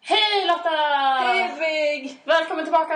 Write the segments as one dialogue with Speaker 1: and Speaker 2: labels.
Speaker 1: Hej Lotta!
Speaker 2: Evig!
Speaker 1: Välkommen tillbaka!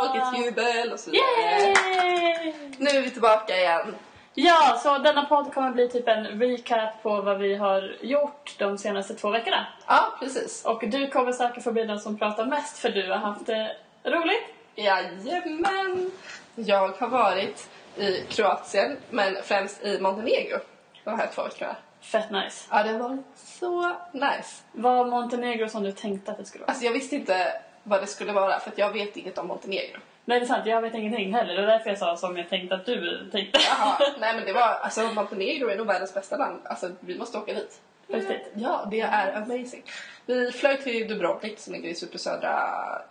Speaker 2: Och ett jubel och så vidare.
Speaker 1: Yay!
Speaker 2: Nu är vi tillbaka igen.
Speaker 1: Ja, så denna podd kommer bli typ en recap på vad vi har gjort de senaste två veckorna.
Speaker 2: Ja, precis.
Speaker 1: Och du kommer säkert få bli den som pratar mest för du har haft det roligt.
Speaker 2: Jajamän! Jag har varit i Kroatien, men främst i Montenegro de här två veckorna.
Speaker 1: Fett nice.
Speaker 2: Ja, det har varit så nice.
Speaker 1: Var Montenegro som du tänkte att det skulle vara?
Speaker 2: Alltså jag visste inte vad det skulle vara för att jag vet inget om Montenegro.
Speaker 1: Nej, det är sant. Jag vet ingenting heller. Det var därför jag sa som jag tänkte att du tänkte.
Speaker 2: Jaha, nej men det var, alltså Montenegro är nog världens bästa land. Alltså vi måste åka dit.
Speaker 1: Riktigt.
Speaker 2: Ja, det är amazing. Vi flög till Dubrovnik som ligger i supersödra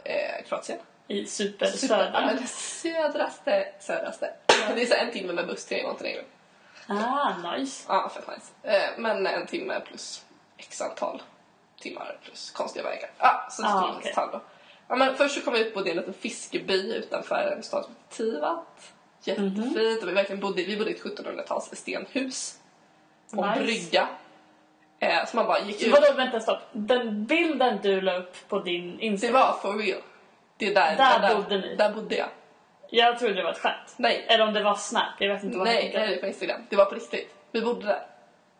Speaker 2: eh, Kroatien.
Speaker 1: I
Speaker 2: Ja,
Speaker 1: supersödra.
Speaker 2: men det södraste, södraste. Det är så en timme med buss till Montenegro.
Speaker 1: Ah, nice.
Speaker 2: Ja, fett nice. Eh, Men en timme plus x antal timmar plus konstiga vägar. Ja, så det
Speaker 1: Ah,
Speaker 2: skulle
Speaker 1: okej.
Speaker 2: tal då. Ja, men först så kom vi ut och bodde i en liten fiskeby utanför en stad som heter Tivat. Jättefint. Och vi, verkligen bodde, vi bodde i ett 1700-tals stenhus. Och
Speaker 1: Nice.
Speaker 2: brygga. Eh, så man bara gick ut.
Speaker 1: Vadå, vänta, stopp. Den bilden du la upp på din
Speaker 2: Det
Speaker 1: Instagram.
Speaker 2: var for real. Det är där,
Speaker 1: Där bodde ni.
Speaker 2: Där bodde jag.
Speaker 1: Jag trodde det var ett skämt.
Speaker 2: Nej.
Speaker 1: Eller om det var snap. Jag vet inte vad jag
Speaker 2: Nej, det
Speaker 1: tycker.
Speaker 2: är på Instagram. Det var på riktigt. Vi bodde där.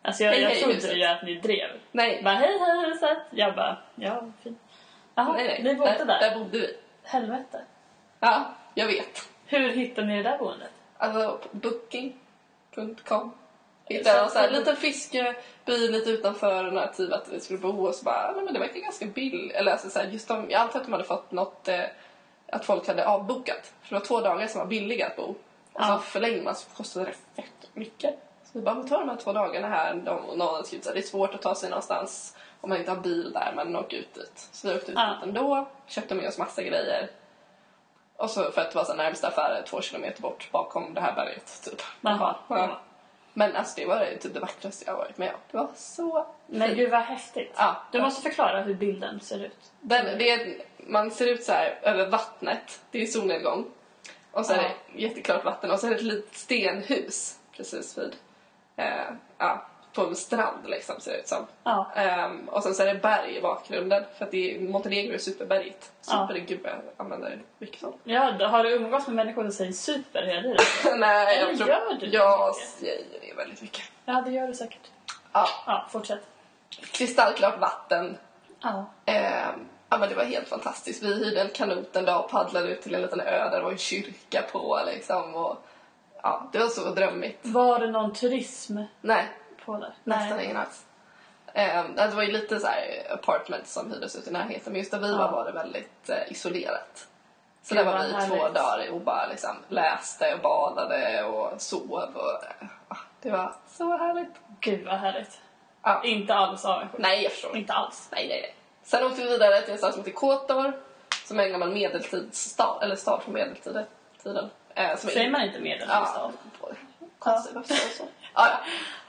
Speaker 1: Alltså jag,
Speaker 2: Hej,
Speaker 1: jag
Speaker 2: hej,
Speaker 1: trodde
Speaker 2: huset.
Speaker 1: ju att ni drev.
Speaker 2: Nej,
Speaker 1: Bara hej hej huset. Jag bara ja fint. Jaha,
Speaker 2: nej, nej.
Speaker 1: ni bodde där.
Speaker 2: Där bodde vi.
Speaker 1: Helvete.
Speaker 2: Ja, jag vet.
Speaker 1: Hur hittade ni det där boendet?
Speaker 2: Alltså på booking.com.
Speaker 1: Så-
Speaker 2: Hittade en sån här liten fiskeby lite utanför den här tiden att vi skulle bo och så bara, "Ah, nej, men det verkar ganska billigt. Eller alltså, så här, just de, jag antar att de hade fått något, eh, att folk hade avbokat. För det var två dagar som var billiga att bo. Och
Speaker 1: Ja.
Speaker 2: så förlängde man så kostade det fett mycket. Så vi bara, men ta de här två dagarna här. De, och någon hade skrivit så här, det är svårt att ta sig någonstans om man inte har bil där, men åker ut dit. Så vi åkte ut
Speaker 1: Ja.
Speaker 2: dit ändå, köpte med oss massa grejer. Och så för att det var så här närmsta affär två kilometer bort bakom det här berget. Typ.
Speaker 1: Jaha.
Speaker 2: Ja. Men alltså det var ju typ det vackraste jag har varit med om. Det var så
Speaker 1: Men gud vad häftigt.
Speaker 2: Ja.
Speaker 1: Du måste förklara hur bilden ser ut.
Speaker 2: Den, det är, man ser ut så här över vattnet. Det är solnedgång. Och så är det jätteklart vatten och så är det ett litet stenhus precis vid. Eh, ja, på en strand liksom ser det ut som.
Speaker 1: Ja.
Speaker 2: Ehm, och sen så är det berg i bakgrunden för att det är Montenegro är superbergigt.
Speaker 1: Ja.
Speaker 2: Super, gud vad jag använder mycket sånt.
Speaker 1: Ja, då har du umgåtts med människor som säger super hela tiden?
Speaker 2: Nej,
Speaker 1: Eller
Speaker 2: jag tror...
Speaker 1: gör du det
Speaker 2: Jag
Speaker 1: mycket?
Speaker 2: säger det väldigt mycket.
Speaker 1: Ja, det gör du säkert.
Speaker 2: Ja,
Speaker 1: Ja, fortsätt.
Speaker 2: kristallklart vatten.
Speaker 1: Ja.
Speaker 2: Eh, ja, men det var helt fantastiskt. Vi hyrde en kanot en dag och paddlade ut till en liten ö där det var en kyrka på. Liksom, och, ja, det var så drömmigt.
Speaker 1: Var det någon turism
Speaker 2: Nej,
Speaker 1: på där?
Speaker 2: nästan ingen alls. Eh, det var ju lite så här apartments som hyrdes ut i närheten men just där vi var var det väldigt eh, isolerat. Så
Speaker 1: Gud,
Speaker 2: där var
Speaker 1: vad
Speaker 2: vi i
Speaker 1: härligt.
Speaker 2: två dagar och bara liksom läste och badade och sov. Och, eh, det var så härligt.
Speaker 1: Gud vad härligt.
Speaker 2: Ja.
Speaker 1: Inte alls avundsjuk.
Speaker 2: Nej, jag förstår.
Speaker 1: Inte alls.
Speaker 2: Nej, nej, nej. Sen åkte vi vidare till en stad som heter Kotor som är en gammal medeltidsstad, eller stad från medeltiden. Tiden. Eh, som är-
Speaker 1: Säger man inte medelhavsstad?
Speaker 2: Ja. Konstigt, varför säger jag så? Ja, ja.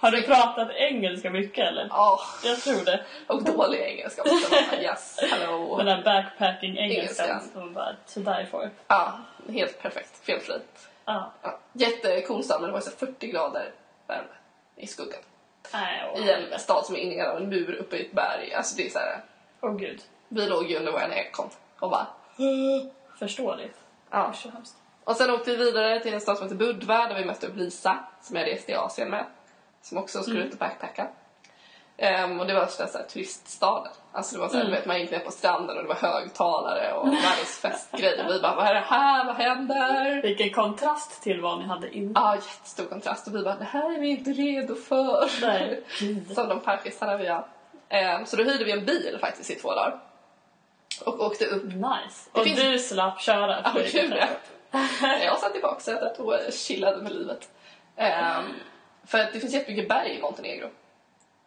Speaker 1: Har du pratat engelska mycket eller?
Speaker 2: Ja,
Speaker 1: Jag tror det.
Speaker 2: och dålig engelska måste man säga. Yes, hello.
Speaker 1: Den där backpacking-engelskan
Speaker 2: Engelskan.
Speaker 1: som man bara to die for.
Speaker 2: Ja, helt perfekt. Felfri.
Speaker 1: Ja.
Speaker 2: Ja. Jättecool stad, men det var så 40 grader värme i skuggan.
Speaker 1: Nej, åh,
Speaker 2: I en stad som är inne av en mur uppe i ett berg. Alltså det är så här,
Speaker 1: Åh gud.
Speaker 2: vi låg ju under vår aircon och bara...
Speaker 1: Förståeligt.
Speaker 2: Ja.
Speaker 1: Usch, så hemskt.
Speaker 2: Och sen åkte vi vidare till en stad som heter Budva där vi mötte upp Lisa som jag reste i Asien med. Som också skulle ut och backpacka. Ehm, och det var värsta så här, turiststaden. Alltså det var så här, du vet, man gick ner på stranden och det var högtalare och världens festgrej. Och vi bara, vad är det här? Vad händer?
Speaker 1: Vilken kontrast till vad ni hade innan.
Speaker 2: Ja, jättestor kontrast. Och vi bara, det här är vi inte redo för.
Speaker 1: Nej, gud.
Speaker 2: Som de parkisarna vi är. Ehm, så då hyrde vi en bil faktiskt i två dagar. Och åkte upp
Speaker 1: Nice. Och
Speaker 2: finns-
Speaker 1: du slapp köra.
Speaker 2: Ja,
Speaker 1: för det
Speaker 2: kul
Speaker 1: kanske.
Speaker 2: ja. Jag satt i baksätet och chillade med livet. Ehm, för att det finns jättemycket berg i Montenegro.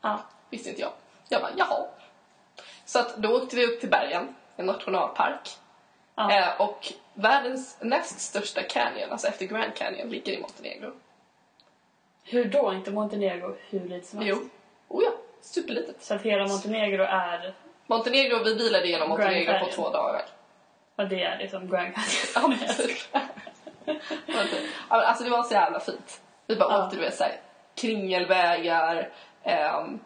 Speaker 1: Ja.
Speaker 2: Visste inte jag. Jag bara, jaha. Så att då åkte vi upp till bergen, en nationalpark.
Speaker 1: Ja.
Speaker 2: Eh, och världens näst största canyon, alltså efter Grand Canyon, ligger i Montenegro.
Speaker 1: Hur då? Inte Montenegro hur litet som helst?
Speaker 2: Jo, oh ja, superlitet.
Speaker 1: Så att hela Montenegro är...
Speaker 2: Montenegro, vi bilade genom
Speaker 1: Grand
Speaker 2: Montenegro på
Speaker 1: Canyon.
Speaker 2: två dagar.
Speaker 1: Vad det är liksom Grand Canyon.
Speaker 2: Ja, men typ. Men typ. Ja, men alltså det var så jävla fint. Vi bara
Speaker 1: Ja.
Speaker 2: åkte du vet, så här, kringelvägar ehm,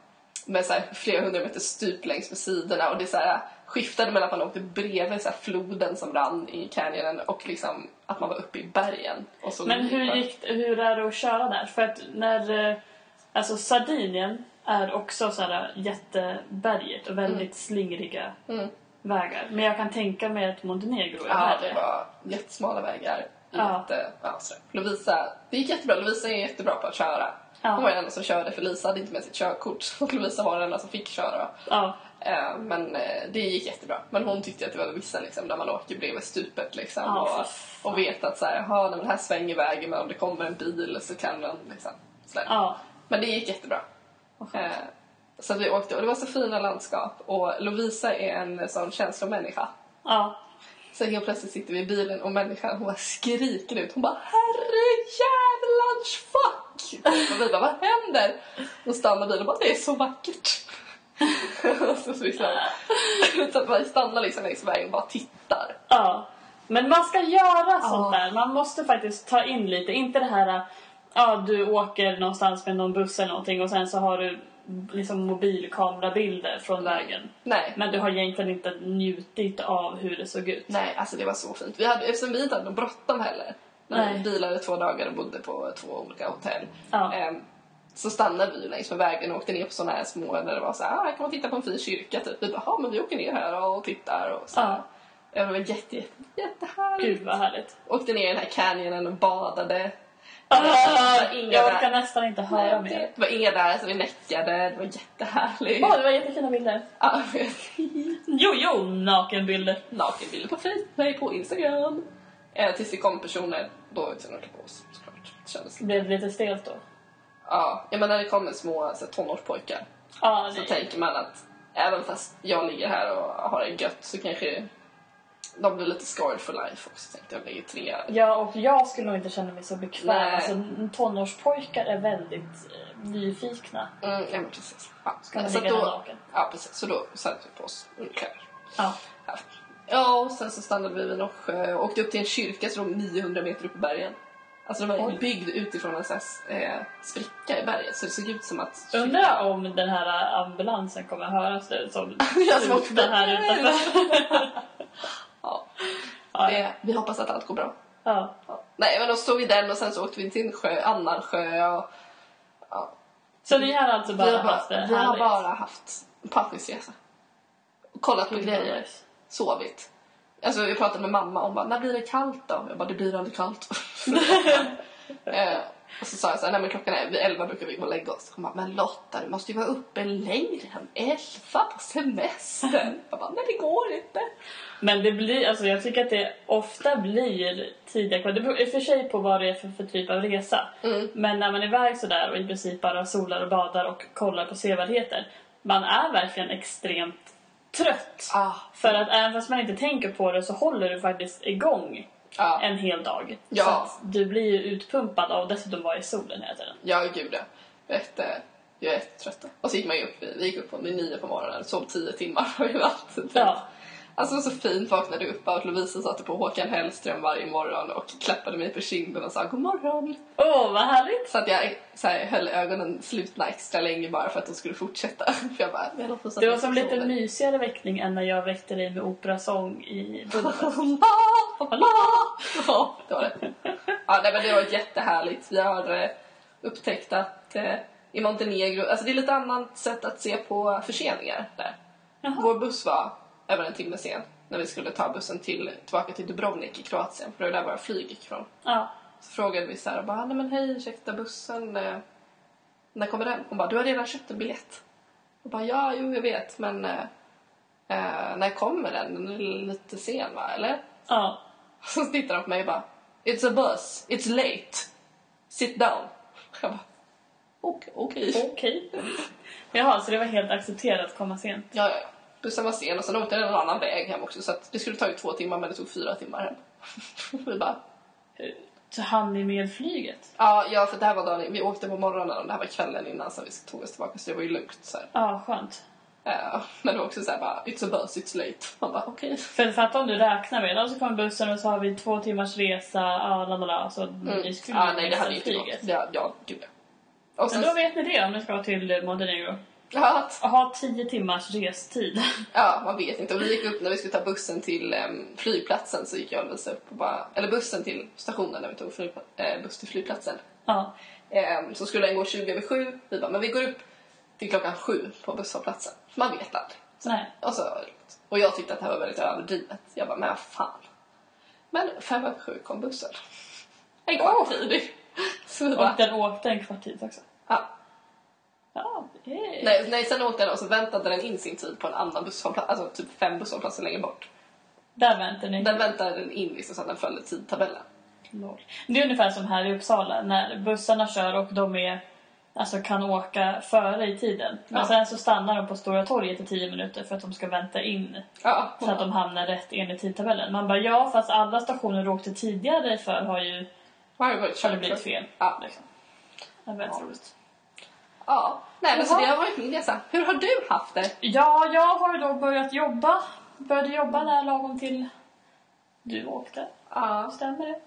Speaker 2: med så här, flera hundra meter stup längs med sidorna och det så här, skiftade mellan att man åkte bredvid så här, floden som rann i canyonen och liksom att man var uppe i bergen. Och så
Speaker 1: Men hur, gick, hur är det att köra där? För att när... eh, Alltså Sardinien är också så här eh, jätteberget och väldigt slingriga
Speaker 2: Mm.
Speaker 1: vägar. Men jag kan tänka mig att Montenegro är
Speaker 2: Ja,
Speaker 1: värre.
Speaker 2: det var jättesmala vägar.
Speaker 1: Ja.
Speaker 2: Jätte, ja, så. Lovisa, det gick jättebra. Lovisa är jättebra på att köra.
Speaker 1: Ja.
Speaker 2: Hon var den enda som körde för Lisa hade inte med sitt körkort. Och Lovisa var den enda som fick köra.
Speaker 1: Ja.
Speaker 2: Eh, Men eh, det gick jättebra. Men hon tyckte att det var vissa liksom, där man åker bredvid stupet liksom,
Speaker 1: Ja,
Speaker 2: och,
Speaker 1: fy fan.
Speaker 2: och vet att så här, "Jaha, nej, men här svänger vägen men om det kommer en bil så kan den liksom, så där.
Speaker 1: Ja.
Speaker 2: Men det gick jättebra.
Speaker 1: Vad skönt.
Speaker 2: Eh, Så att vi åkte och det var så fina landskap och Lovisa är en sån känslomänniska.
Speaker 1: Ja.
Speaker 2: Så helt plötsligt sitter vi i bilen och människan hon bara skriker ut. Hon bara herrejävlans fuck! Och vi bara vad händer? Och stannar bilen och bara det är så vackert. så så liksom, så att man stannar liksom längs vägen och bara tittar.
Speaker 1: Ja. Men man ska göra sånt
Speaker 2: Ja.
Speaker 1: där. Man måste faktiskt ta in lite. Inte det här eh, ja, du åker någonstans med någon buss eller någonting och sen så har du liksom mobilkamerabilder från
Speaker 2: Mm.
Speaker 1: vägen.
Speaker 2: Nej.
Speaker 1: Men du har egentligen inte njutit av hur det såg ut.
Speaker 2: Nej, alltså det var så fint. Vi hade, eftersom vi inte hade något bråttom heller. När vi
Speaker 1: Nej.
Speaker 2: bilade två dagar och bodde på två olika hotell.
Speaker 1: Ja.
Speaker 2: ehm, så stannade vi längs med vägen och åkte ner på sådana här små där det var så här, ah, här kan man titta på en fin kyrka typ. Vi bara, "Ja, men vi åker ner här och tittar och så.
Speaker 1: Ja.
Speaker 2: Ja, Det var jätte, jätte, jättehärligt.
Speaker 1: Gud vad härligt.
Speaker 2: Åkte ner i den här canyonen och badade.
Speaker 1: Ah,
Speaker 2: inga
Speaker 1: jag
Speaker 2: där.
Speaker 1: orkar nästan inte höra mer.
Speaker 2: det var inga där så vi näckade, det var jättehärligt.
Speaker 1: Åh, det var jättefina bilder.
Speaker 2: Ja,
Speaker 1: Jo, jo, nakenbilder.
Speaker 2: nakenbilder på Facebook, nej på Instagram. Eh, tills det kom personer, då utsände de på oss såklart. Det Kändes.
Speaker 1: Blev det lite stelt då?
Speaker 2: Ja, jag menar när det kommer små så här, tonårspojkar
Speaker 1: Ja,
Speaker 2: så
Speaker 1: nej.
Speaker 2: tänker man att även fast jag ligger här och har det gött så kanske de blir lite scarred for life också tänkte jag, ligger tre.
Speaker 1: Ja, och jag skulle nog inte känna mig så bekväm.
Speaker 2: Nej.
Speaker 1: Alltså, tonårspojkar är väldigt eh, nyfikna.
Speaker 2: Mm, ja men precis. Ja,
Speaker 1: Ska man
Speaker 2: så att
Speaker 1: ligga där
Speaker 2: då,
Speaker 1: naken?
Speaker 2: ja precis, så då satte vi på oss underkläder.
Speaker 1: Ja.
Speaker 2: Ja. Ja, och sen så stannade vi vid Norsjö och åkte upp till en kyrka som låg 900 meter upp i bergen. Alltså den var
Speaker 1: Oj.
Speaker 2: byggd utifrån en sån här, eh, spricka i berget så det såg ut som att...
Speaker 1: Undrar om den här eh, ambulansen kommer höras nu som
Speaker 2: Jag som åkte
Speaker 1: slutar här
Speaker 2: förbi.
Speaker 1: utanför.
Speaker 2: Ja.
Speaker 1: Ja.
Speaker 2: Eh, vi hoppas att allt går bra.
Speaker 1: Ja.
Speaker 2: Ja. Nej men då stod vi den och sen så åkte vi till en sjö, annan sjö och
Speaker 1: Så ni har alltså bara
Speaker 2: vi har
Speaker 1: haft det
Speaker 2: bara, vi har
Speaker 1: härligt?
Speaker 2: bara haft en packningsresa. Kollat på
Speaker 1: Gud, vad
Speaker 2: grejer,
Speaker 1: nice.
Speaker 2: sovit. Alltså jag pratade med mamma och hon bara, när blir det kallt då? Jag bara, det blir aldrig kallt. eh, och så sa jag så här, nej men klockan är, vid elva brukar vi gå och lägga oss. Hon bara, men Lotta du måste ju vara uppe längre än elva på semestern. Jag bara, nej det går inte.
Speaker 1: Men det blir, alltså jag tycker att det ofta blir tidiga kvällar. Det beror i och för sig på vad det är för, för typ av resa.
Speaker 2: Mm.
Speaker 1: Men när man är iväg sådär och i princip bara solar och badar och kollar på sevärdheter. Man är verkligen extremt trött.
Speaker 2: Ah,
Speaker 1: För att även fast man inte tänker på det så håller du faktiskt igång
Speaker 2: ja.
Speaker 1: en hel dag.
Speaker 2: Ja.
Speaker 1: Så att du blir ju utpumpad av att dessutom vara i solen hela tiden.
Speaker 2: Ja, gud ja. Jag är jätte- jag är jättetrött. Och så gick man ju upp, vi gick upp på vid nio på morgonen, sov tio timmar och i natt.
Speaker 1: Ja.
Speaker 2: Alltså så fint vaknade upp av att Lovisa satte på Håkan Hellström varje morgon och klappade mig på kinden och sa god morgon.
Speaker 1: Åh, vad härligt!
Speaker 2: Så att jag så här, höll ögonen slutna extra länge bara för att de skulle fortsätta. För jag bara, jag låter
Speaker 1: Det var som lite mysigare väckning än när jag väckte dig med operasång i Budapest.
Speaker 2: Ja, det var det. Ja, nej, men det var jättehärligt. Vi har eh, upptäckt att eh, i Montenegro, alltså det är lite annat sätt att se på förseningar där.
Speaker 1: Jaha.
Speaker 2: Vår buss var över en timme sen när vi skulle ta bussen till, tillbaka till Dubrovnik i Kroatien, för det var där våra flyg gick ifrån.
Speaker 1: Ja.
Speaker 2: Så frågade vi så här, bara, "Ah, nej men hej, ursäkta bussen, eh, när kommer den? Hon bara, du har redan köpt en biljett. Jag bara, ja, jo, jag vet, men eh, eh, när kommer den? Den är lite sen, va, eller?
Speaker 1: Ja.
Speaker 2: Så tittar han på mig och bara It's a bus, it's late, sit down. Jag bara okej. okej.
Speaker 1: Okej. Jaha, så det var helt accepterat att komma sent?
Speaker 2: Ja, ja, ja. Bussen var sen och sen åkte den en annan väg hem också så att det skulle tagit två timmar men det tog fyra timmar hem. vi bara,
Speaker 1: Så hann ni med flyget?
Speaker 2: ja, ja för det här var dagen, vi åkte på morgonen och det här var kvällen innan så vi tog oss tillbaka så det var ju lugnt så här.
Speaker 1: Ja, skönt.
Speaker 2: Eh, men det var också såhär bara, it's a bus, it's late. Man bara, okej.
Speaker 1: För fatta om du räknar med det. Och så kommer bussen och så har vi två timmars resa. Ja, la, la, la. Så ni skulle
Speaker 2: ah, nej, det hade ju inte gått.
Speaker 1: flyget.
Speaker 2: Ja, ja, gud ja. Och
Speaker 1: Men
Speaker 2: sen,
Speaker 1: då vet ni det om ni ska till eh, Montenegro.
Speaker 2: ja, att-
Speaker 1: Och ha 10 timmars restid.
Speaker 2: ja, man vet inte. Och vi gick upp när vi skulle ta bussen till em, flygplatsen så gick jag och Lovisa upp och bara, eller bussen till stationen när vi tog flyg, eh, buss till flygplatsen.
Speaker 1: ja.
Speaker 2: Ehm, så skulle den gå 20 över sju. Vi bara, men vi går upp till klockan sju på busshållplatsen. För Man vet aldrig.
Speaker 1: Så nej.
Speaker 2: Och, så, var det lugnt. och jag tyckte att det här var väldigt överdrivet. Jag bara, men vad fan. Men fem över sju kom bussen. En kvart tidig. Så vi
Speaker 1: Och
Speaker 2: bara,
Speaker 1: den åkte en kvart tid också.
Speaker 2: ja.
Speaker 1: Ja, det är...
Speaker 2: nej, nej, sen åkte den och så väntade den in sin tid på en annan busshållplats, alltså typ fem busshållplatser längre bort.
Speaker 1: Där väntar ni.
Speaker 2: Den väntade den in liksom så att den följde tidtabellen.
Speaker 1: Noll. Det är ungefär som här i Uppsala när bussarna kör och de är, alltså kan åka före i tiden. Men
Speaker 2: Ja.
Speaker 1: sen så stannar de på Stora torget i 10 minuter för att de ska vänta in
Speaker 2: Ja,
Speaker 1: så att de hamnar rätt enligt tidtabellen. Man bara ja, fast alla stationer du åkte tidigare för har ju
Speaker 2: har det varit
Speaker 1: har det blivit fel.
Speaker 2: Ja.
Speaker 1: Liksom. Det är väldigt roligt.
Speaker 2: ja. Nej, men så
Speaker 1: Jaha.
Speaker 2: det har varit min resa. Hur har du haft det?
Speaker 1: Ja, jag har ju då börjat jobba. Började jobba där lagom till du åkte.
Speaker 2: Ja.
Speaker 1: Stämmer det?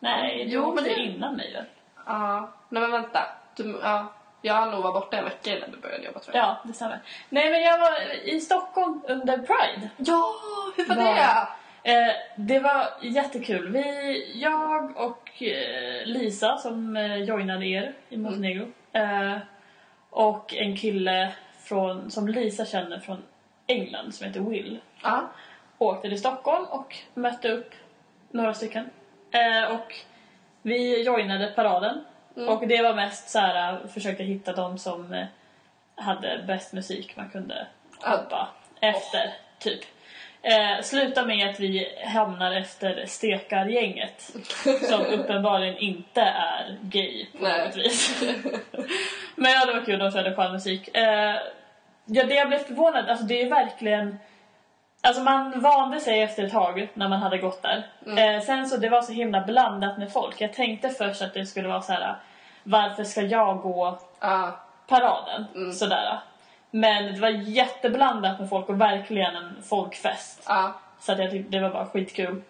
Speaker 1: Nej, du
Speaker 2: Jo, men
Speaker 1: åkte
Speaker 2: det-
Speaker 1: innan mig väl?
Speaker 2: Ja, nej men vänta. Du, ja, jag har nog varit borta en vecka innan du började jobba tror jag.
Speaker 1: Ja, det stämmer. Nej, men jag var i Stockholm under Pride.
Speaker 2: Ja, hur var
Speaker 1: Ja.
Speaker 2: det?
Speaker 1: Eh, det var jättekul. Vi, jag och eh, Lisa som eh, joinade er i Montenegro eh, och en kille från, som Lisa känner från England som heter Will
Speaker 2: Ja.
Speaker 1: åkte till Stockholm och mötte upp några stycken. Eh, och vi joinade paraden. Och det var mest så här, eh, försökte hitta de som eh, hade bäst musik man kunde hoppa efter, typ. Eh, sluta med att vi hamnar efter stekargänget som uppenbarligen inte är gay på
Speaker 2: Nej.
Speaker 1: något vis. Men ja, det var kul. De körde skön musik. Eh, ja, det jag blev förvånad, alltså det är verkligen... Alltså man vande sig efter ett tag när man hade gått där. Eh, sen så det var så himla blandat med folk. Jag tänkte först att det skulle vara så här. varför ska jag gå
Speaker 2: Ja.
Speaker 1: paraden? Sådär. Men det var jätteblandat med folk och verkligen en folkfest.
Speaker 2: Ja.
Speaker 1: Så att jag tyckte det var bara skitkul.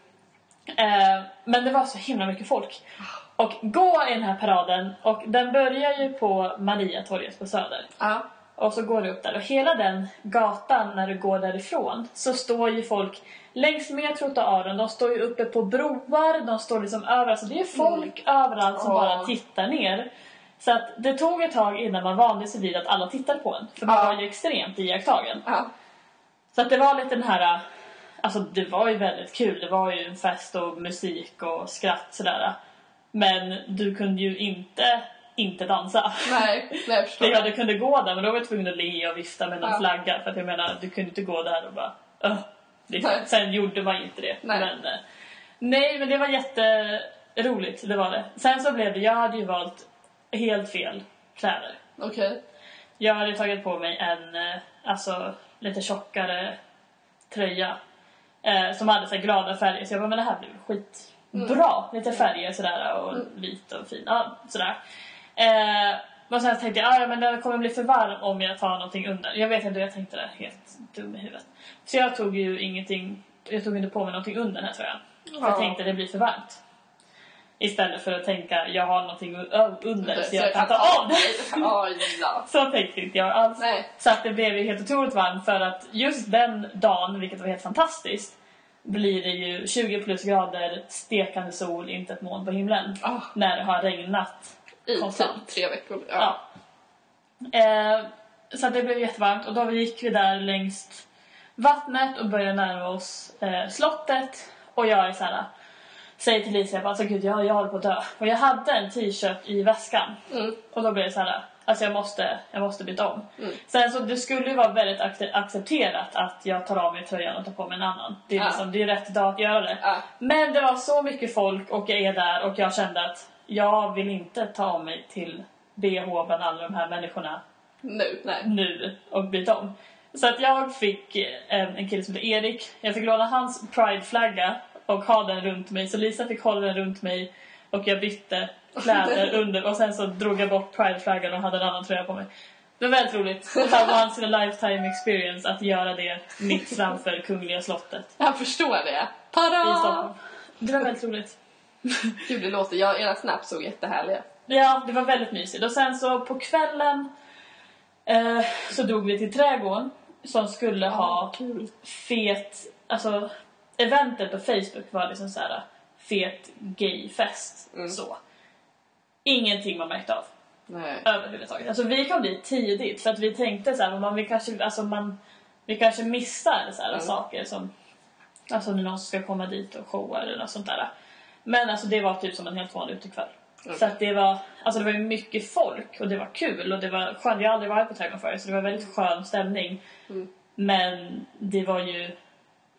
Speaker 1: Eh, men det var så himla mycket folk. Och gå i den här paraden och den börjar ju på Mariatorget på Söder.
Speaker 2: Ja.
Speaker 1: Och så går du upp där och hela den gatan när du går därifrån så står ju folk längs med trottoaren. De står ju uppe på broar, de står liksom överallt. Så det är folk överallt som
Speaker 2: Mm. Ja.
Speaker 1: bara tittar ner. Så att det tog ett tag innan man vande sig vid att alla tittade på en. För man
Speaker 2: Ja.
Speaker 1: var ju extremt iakttagen.
Speaker 2: Ja.
Speaker 1: Så att det var lite den här... Alltså det var ju väldigt kul. Det var ju en fest och musik och skratt sådär. Men du kunde ju inte inte dansa.
Speaker 2: Nej, nej jag förstår.
Speaker 1: Det jag kunde gå där men då var jag tvungen att le och vifta med någon
Speaker 2: Ja.
Speaker 1: flagga. För att jag menar, du kunde inte gå där och bara... "Åh." Det,
Speaker 2: Nej.
Speaker 1: sen gjorde man ju inte det.
Speaker 2: Nej.
Speaker 1: Men, eh, nej, men det var jätteroligt. Det var det. Sen så blev det... Jag hade ju valt helt fel kläder.
Speaker 2: Okej.
Speaker 1: Jag hade tagit på mig en eh, alltså, lite tjockare tröja eh, som hade så här glada färger. Så jag bara, men det här blir väl skitbra. Lite färger sådär och vit och fin. Ja, sådär. Eh, och sen tänkte jag, "Ah, ja men den kommer bli för varm om jag tar någonting under. Jag vet inte, jag tänkte det. Helt dum i huvudet. Så jag tog ju ingenting, jag tog inte på mig någonting under den här tröjan. För
Speaker 2: Ja.
Speaker 1: jag tänkte det blir för varmt. Istället för att tänka, jag har någonting ö- under så jag kan ta av det.
Speaker 2: Ja, ja.
Speaker 1: Så tänkte inte jag alls.
Speaker 2: Nej.
Speaker 1: Så att det blev ju helt otroligt varmt för att just den dagen, vilket var helt fantastiskt, blir det ju 20 plus grader, stekande sol, inte ett moln på himlen.
Speaker 2: Ah.
Speaker 1: När det har regnat
Speaker 2: I
Speaker 1: konstant.
Speaker 2: typ tre veckor.
Speaker 1: Ja. Eh, så att det blev jättevarmt och då gick vi där längs vattnet och började närma oss eh, slottet. Och jag är så här, säger till Lisa, jag bara, alltså gud jag, jag håller på att dö. Och jag hade en t-shirt i väskan.
Speaker 2: Mm.
Speaker 1: Och då blev det så här, alltså jag måste, jag måste byta om. Sen så det skulle ju vara väldigt ac- accepterat att jag tar av mig tröjan och tar på mig en annan. Det är,
Speaker 2: Ja.
Speaker 1: liksom, det är rätt dag att göra det.
Speaker 2: Ja.
Speaker 1: Men det var så mycket folk och jag är där och jag kände att jag vill inte ta av mig till BH bland alla de här människorna
Speaker 2: Nu, nej.
Speaker 1: nu och byta om. Så att jag fick eh, en, en kille som heter Erik, jag fick låna hans prideflagga och ha den runt mig. Så Lisa fick hålla den runt mig och jag bytte kläder under och sen så drog jag bort prideflaggan och hade en annan tröja på mig. Det var väldigt roligt. Det var once in a lifetime experience att göra det mitt framför Kungliga slottet
Speaker 2: Jag förstår det.
Speaker 1: i Stockholm.
Speaker 2: Tada!
Speaker 1: Det var väldigt roligt.
Speaker 2: Gud, det låter. Jag, era snaps såg jättehärliga.
Speaker 1: Ja, det var väldigt mysigt. Och sen så på kvällen eh, så drog vi till trädgården som skulle ha
Speaker 2: kul.
Speaker 1: fet, alltså eventet på Facebook var liksom så här fet gayfest så. Ingenting man märkte av
Speaker 2: Nej.
Speaker 1: överhuvudtaget. Alltså vi kom dit tidigt för att vi tänkte så här, men man, vi kanske, alltså man, vi kanske missar så här saker som, alltså när någon ska komma dit och showa eller något sånt där. Men alltså det var typ som en helt vanlig utekväll. Så att det var, alltså det var ju mycket folk och det var kul och det var skönt. Jag har aldrig varit på trädgården förut så det var väldigt skön stämning. Men det var ju,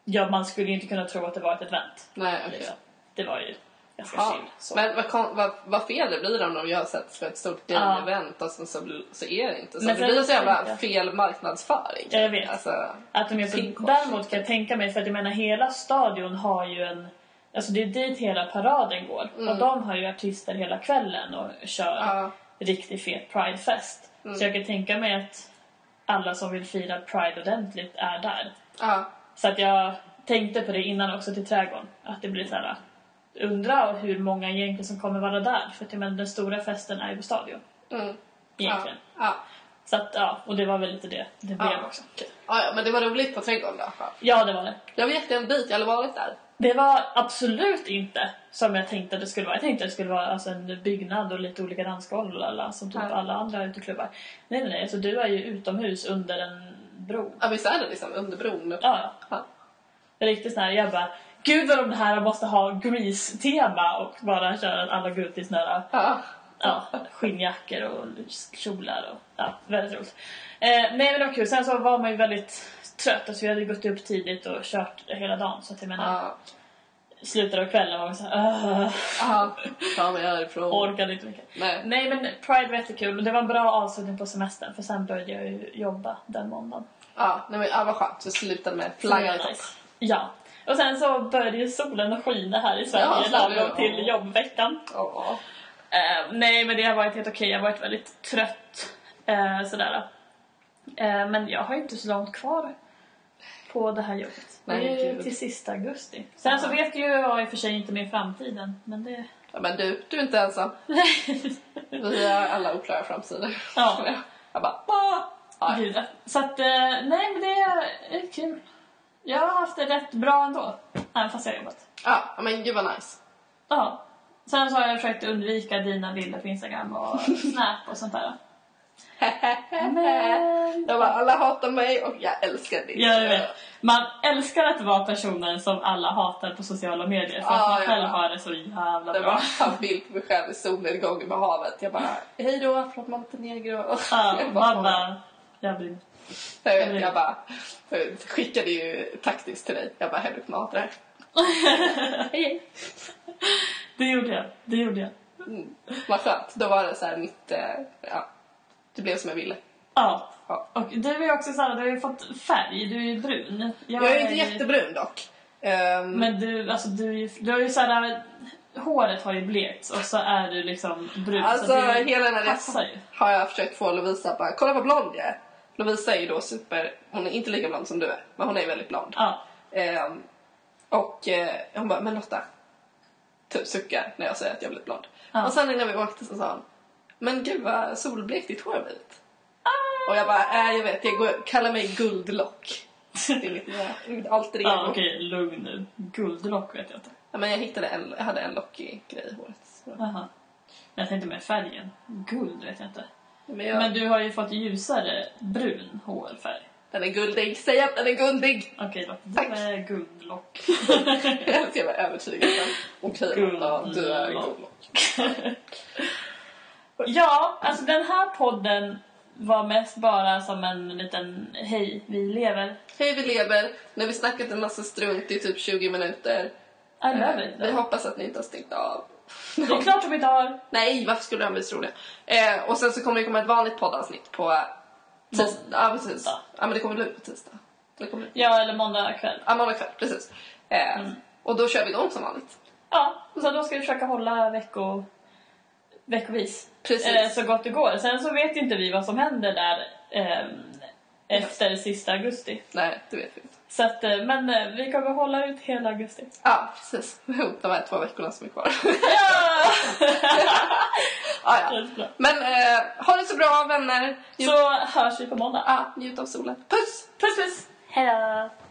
Speaker 1: ja man skulle ju inte kunna tro att det var ett event.
Speaker 2: Nej, okej.
Speaker 1: Liksom. Det var ju ganska
Speaker 2: Ja.
Speaker 1: chill. Så.
Speaker 2: Men vad, kon- vad, vad fel det blir om de gör så att för ett stort
Speaker 1: Ja.
Speaker 2: gay-event och sen så, blir- så är det inte så.
Speaker 1: Men
Speaker 2: det
Speaker 1: sen-
Speaker 2: blir så jävla fel marknadsföring.
Speaker 1: Ja, jag vet.
Speaker 2: Alltså,
Speaker 1: Att de gör så,
Speaker 2: Pink
Speaker 1: däremot kan jag tänka mig, för att jag menar hela stadion har ju en... Alltså det är dit hela paraden går. Och de har ju artister hela kvällen och kör
Speaker 2: Mm. Ja. Mm.
Speaker 1: riktigt fet pridefest. Så jag kan tänka mig att alla som vill fira pride ordentligt är där.
Speaker 2: ja.
Speaker 1: Så att jag tänkte på det innan också till trädgården. Att det blir så här... Undra hur många egentligen som kommer vara där. För att jag menar, den stora festen är ju på stadion.
Speaker 2: Mm. Ja.
Speaker 1: Egentligen.
Speaker 2: Ja.
Speaker 1: Så att ja, och det var väl lite det det blev
Speaker 2: Ja.
Speaker 1: också.
Speaker 2: Ja, ja, men det var roligt på trädgården då. Ja.
Speaker 1: Ja, det var det.
Speaker 2: Jag vet en bit, jag har aldrig varit där.
Speaker 1: Det var absolut inte som jag tänkte att det skulle vara. Jag tänkte att det skulle vara alltså, en byggnad och lite olika dansgolv alla, som typ
Speaker 2: Ja.
Speaker 1: alla andra uteklubbar. Nej, nej, nej. Alltså, du är ju utomhus under en bro.
Speaker 2: Ja, visst är det liksom under bron?
Speaker 1: Ja,
Speaker 2: Ja.
Speaker 1: ja. Riktigt sån här. Jag bara, gud vad de här måste ha Grease-tema och bara köra att alla går ut i såna här
Speaker 2: Ja.
Speaker 1: ja, skinnjackor och kjolar och ja, väldigt roligt. Eh, nej men det var kul. Sen så var man ju väldigt trött. Alltså, vi hade ju gått upp tidigt och kört hela dagen så att jag menar,
Speaker 2: Ja.
Speaker 1: slutet av kvällen var vi såhär
Speaker 2: Ja. Ta mig härifrån.
Speaker 1: Orkade inte mycket.
Speaker 2: Nej.
Speaker 1: Nej men Pride var jättekul och det var en bra avslutning på semestern för sen började jag ju jobba den måndagen.
Speaker 2: Ja, nej, men, ja, vad skönt. Så slutade med
Speaker 1: Så det
Speaker 2: flaggan
Speaker 1: var
Speaker 2: i topp.
Speaker 1: nice. Ja. Och sen så började ju solen att skina här i
Speaker 2: Ja,
Speaker 1: Sverige
Speaker 2: så var det.
Speaker 1: lagom till jobbveckan.
Speaker 2: Ja.
Speaker 1: Eh, nej men det har varit helt okej, jag har varit väldigt trött eh, sådär. Eh, men jag har ju inte så långt kvar på det här jobbet.
Speaker 2: Nej,
Speaker 1: det är ju
Speaker 2: gud.
Speaker 1: till sista augusti. Sen så vet ju jag i och för sig inte min framtiden men det...
Speaker 2: Ja, men du, du är inte ensam. Vi har alla oklara framsidor.
Speaker 1: Ja.
Speaker 2: Jag bara, ah! Ja,
Speaker 1: Gud, Så att, eh, nej men det är kul. Jag har haft det rätt bra ändå, även fast jag har jobbat.
Speaker 2: ja, ja, men ah, gud vad nice.
Speaker 1: Ja. Sen så har jag försökt undvika dina bilder på Instagram och Snap och sånt där. Men...
Speaker 2: Jag bara, alla hatar mig och jag älskar dig.
Speaker 1: Ja, jag vet. Man älskar att vara personen som alla hatar på sociala medier för
Speaker 2: Ja,
Speaker 1: att man
Speaker 2: ja.
Speaker 1: själv har det så jävla
Speaker 2: Det
Speaker 1: bra.
Speaker 2: var en bild på mig själv i solnedgången med havet. Jag bara, hej då från Montenegro.
Speaker 1: Ja,
Speaker 2: Jag bara,
Speaker 1: man bara... Jag blir...
Speaker 2: jag, vet, jag bara jag skickade ju taktiskt till dig. Jag bara, Henrik kommer hata det här.
Speaker 1: Hej, hej. Det gjorde jag. Det gjorde jag.
Speaker 2: Mm. Vad skönt. Då var det så här mitt, eh, ja, det blev som jag ville.
Speaker 1: Ja.
Speaker 2: Ja.
Speaker 1: Och du är ju också såhär, du har ju fått färg, du är ju brun.
Speaker 2: Jag är inte
Speaker 1: ju-
Speaker 2: jättebrun dock. Ehm,
Speaker 1: Men du, alltså du, är ju- du har ju såhär, håret har ju blekts och så är du liksom brun.
Speaker 2: Alltså
Speaker 1: så det
Speaker 2: hela den här
Speaker 1: passar
Speaker 2: resan
Speaker 1: ju.
Speaker 2: har jag försökt få Lovisa att bara, kolla vad blond jag är. Lovisa är ju då super, hon är inte lika blond som du är, men hon är väldigt blond.
Speaker 1: Ja.
Speaker 2: Ehm, och eh, hon bara, men Lotta, typ suckar när jag säger att jag blivit blond.
Speaker 1: Ja.
Speaker 2: Och sen innan vi åkte så sa hon, men gud vad solblekt ditt hår har blivit.
Speaker 1: Ah!
Speaker 2: Och jag bara, äh, jag vet, jag går, kallar mig guldlock. Det är mitt, nya- mitt alter ego.
Speaker 1: Ja, okej, lugn nu. Guldlock vet jag inte.
Speaker 2: ja, men jag hittade en, jag hade en lockig grej i håret. Så.
Speaker 1: Jaha. Men jag tänkte med färgen. Guld vet jag inte.
Speaker 2: Men, jag,
Speaker 1: Men du har ju fått ljusare brun hårfärg.
Speaker 2: den är guldig, säg att den är guldig!
Speaker 1: Okej då, du
Speaker 2: Tack.
Speaker 1: är guldlock.
Speaker 2: Jag är så jävla övertygad. om- Okej, Lotta, du är
Speaker 1: Guldlock.
Speaker 2: guldlock.
Speaker 1: Ja, alltså den här podden var mest bara som en liten hej, vi lever.
Speaker 2: Hej vi lever, nu har vi snackat en massa strunt i typ 20 minuter.
Speaker 1: I love
Speaker 2: Eh,
Speaker 1: it.
Speaker 2: Vi hoppas att ni inte har stängt av.
Speaker 1: Det är klart de inte har.
Speaker 2: Nej, varför skulle de bli så roliga? Eh, och sen så kommer det komma ett vanligt poddavsnitt på tisdag. Ja, precis.
Speaker 1: Måndag.
Speaker 2: Ja, men det kommer bli på tisdag. Det kommer bli.
Speaker 1: Ja, eller måndag kväll.
Speaker 2: Ja, måndag kväll, precis. Eh, Och då kör vi igång som vanligt.
Speaker 1: Ja, så då ska vi försöka hålla vecko... veckovis.
Speaker 2: Precis.
Speaker 1: Eh, så gott det går. Sen så vet ju inte vi vad som händer där ehm, efter sista augusti.
Speaker 2: Nej, det vet vi inte.
Speaker 1: Så att, eh, men eh, vi kommer hålla ut hela augusti.
Speaker 2: Ja, precis. Ihop de här två veckorna som är kvar.
Speaker 1: Ja!
Speaker 2: ja, ja.
Speaker 1: Helt bra.
Speaker 2: Men eh, ha det Mm. så bra vänner. Njut,
Speaker 1: Så hörs vi på måndag.
Speaker 2: ja, njut av solen. Puss!
Speaker 1: Puss puss! Hej då!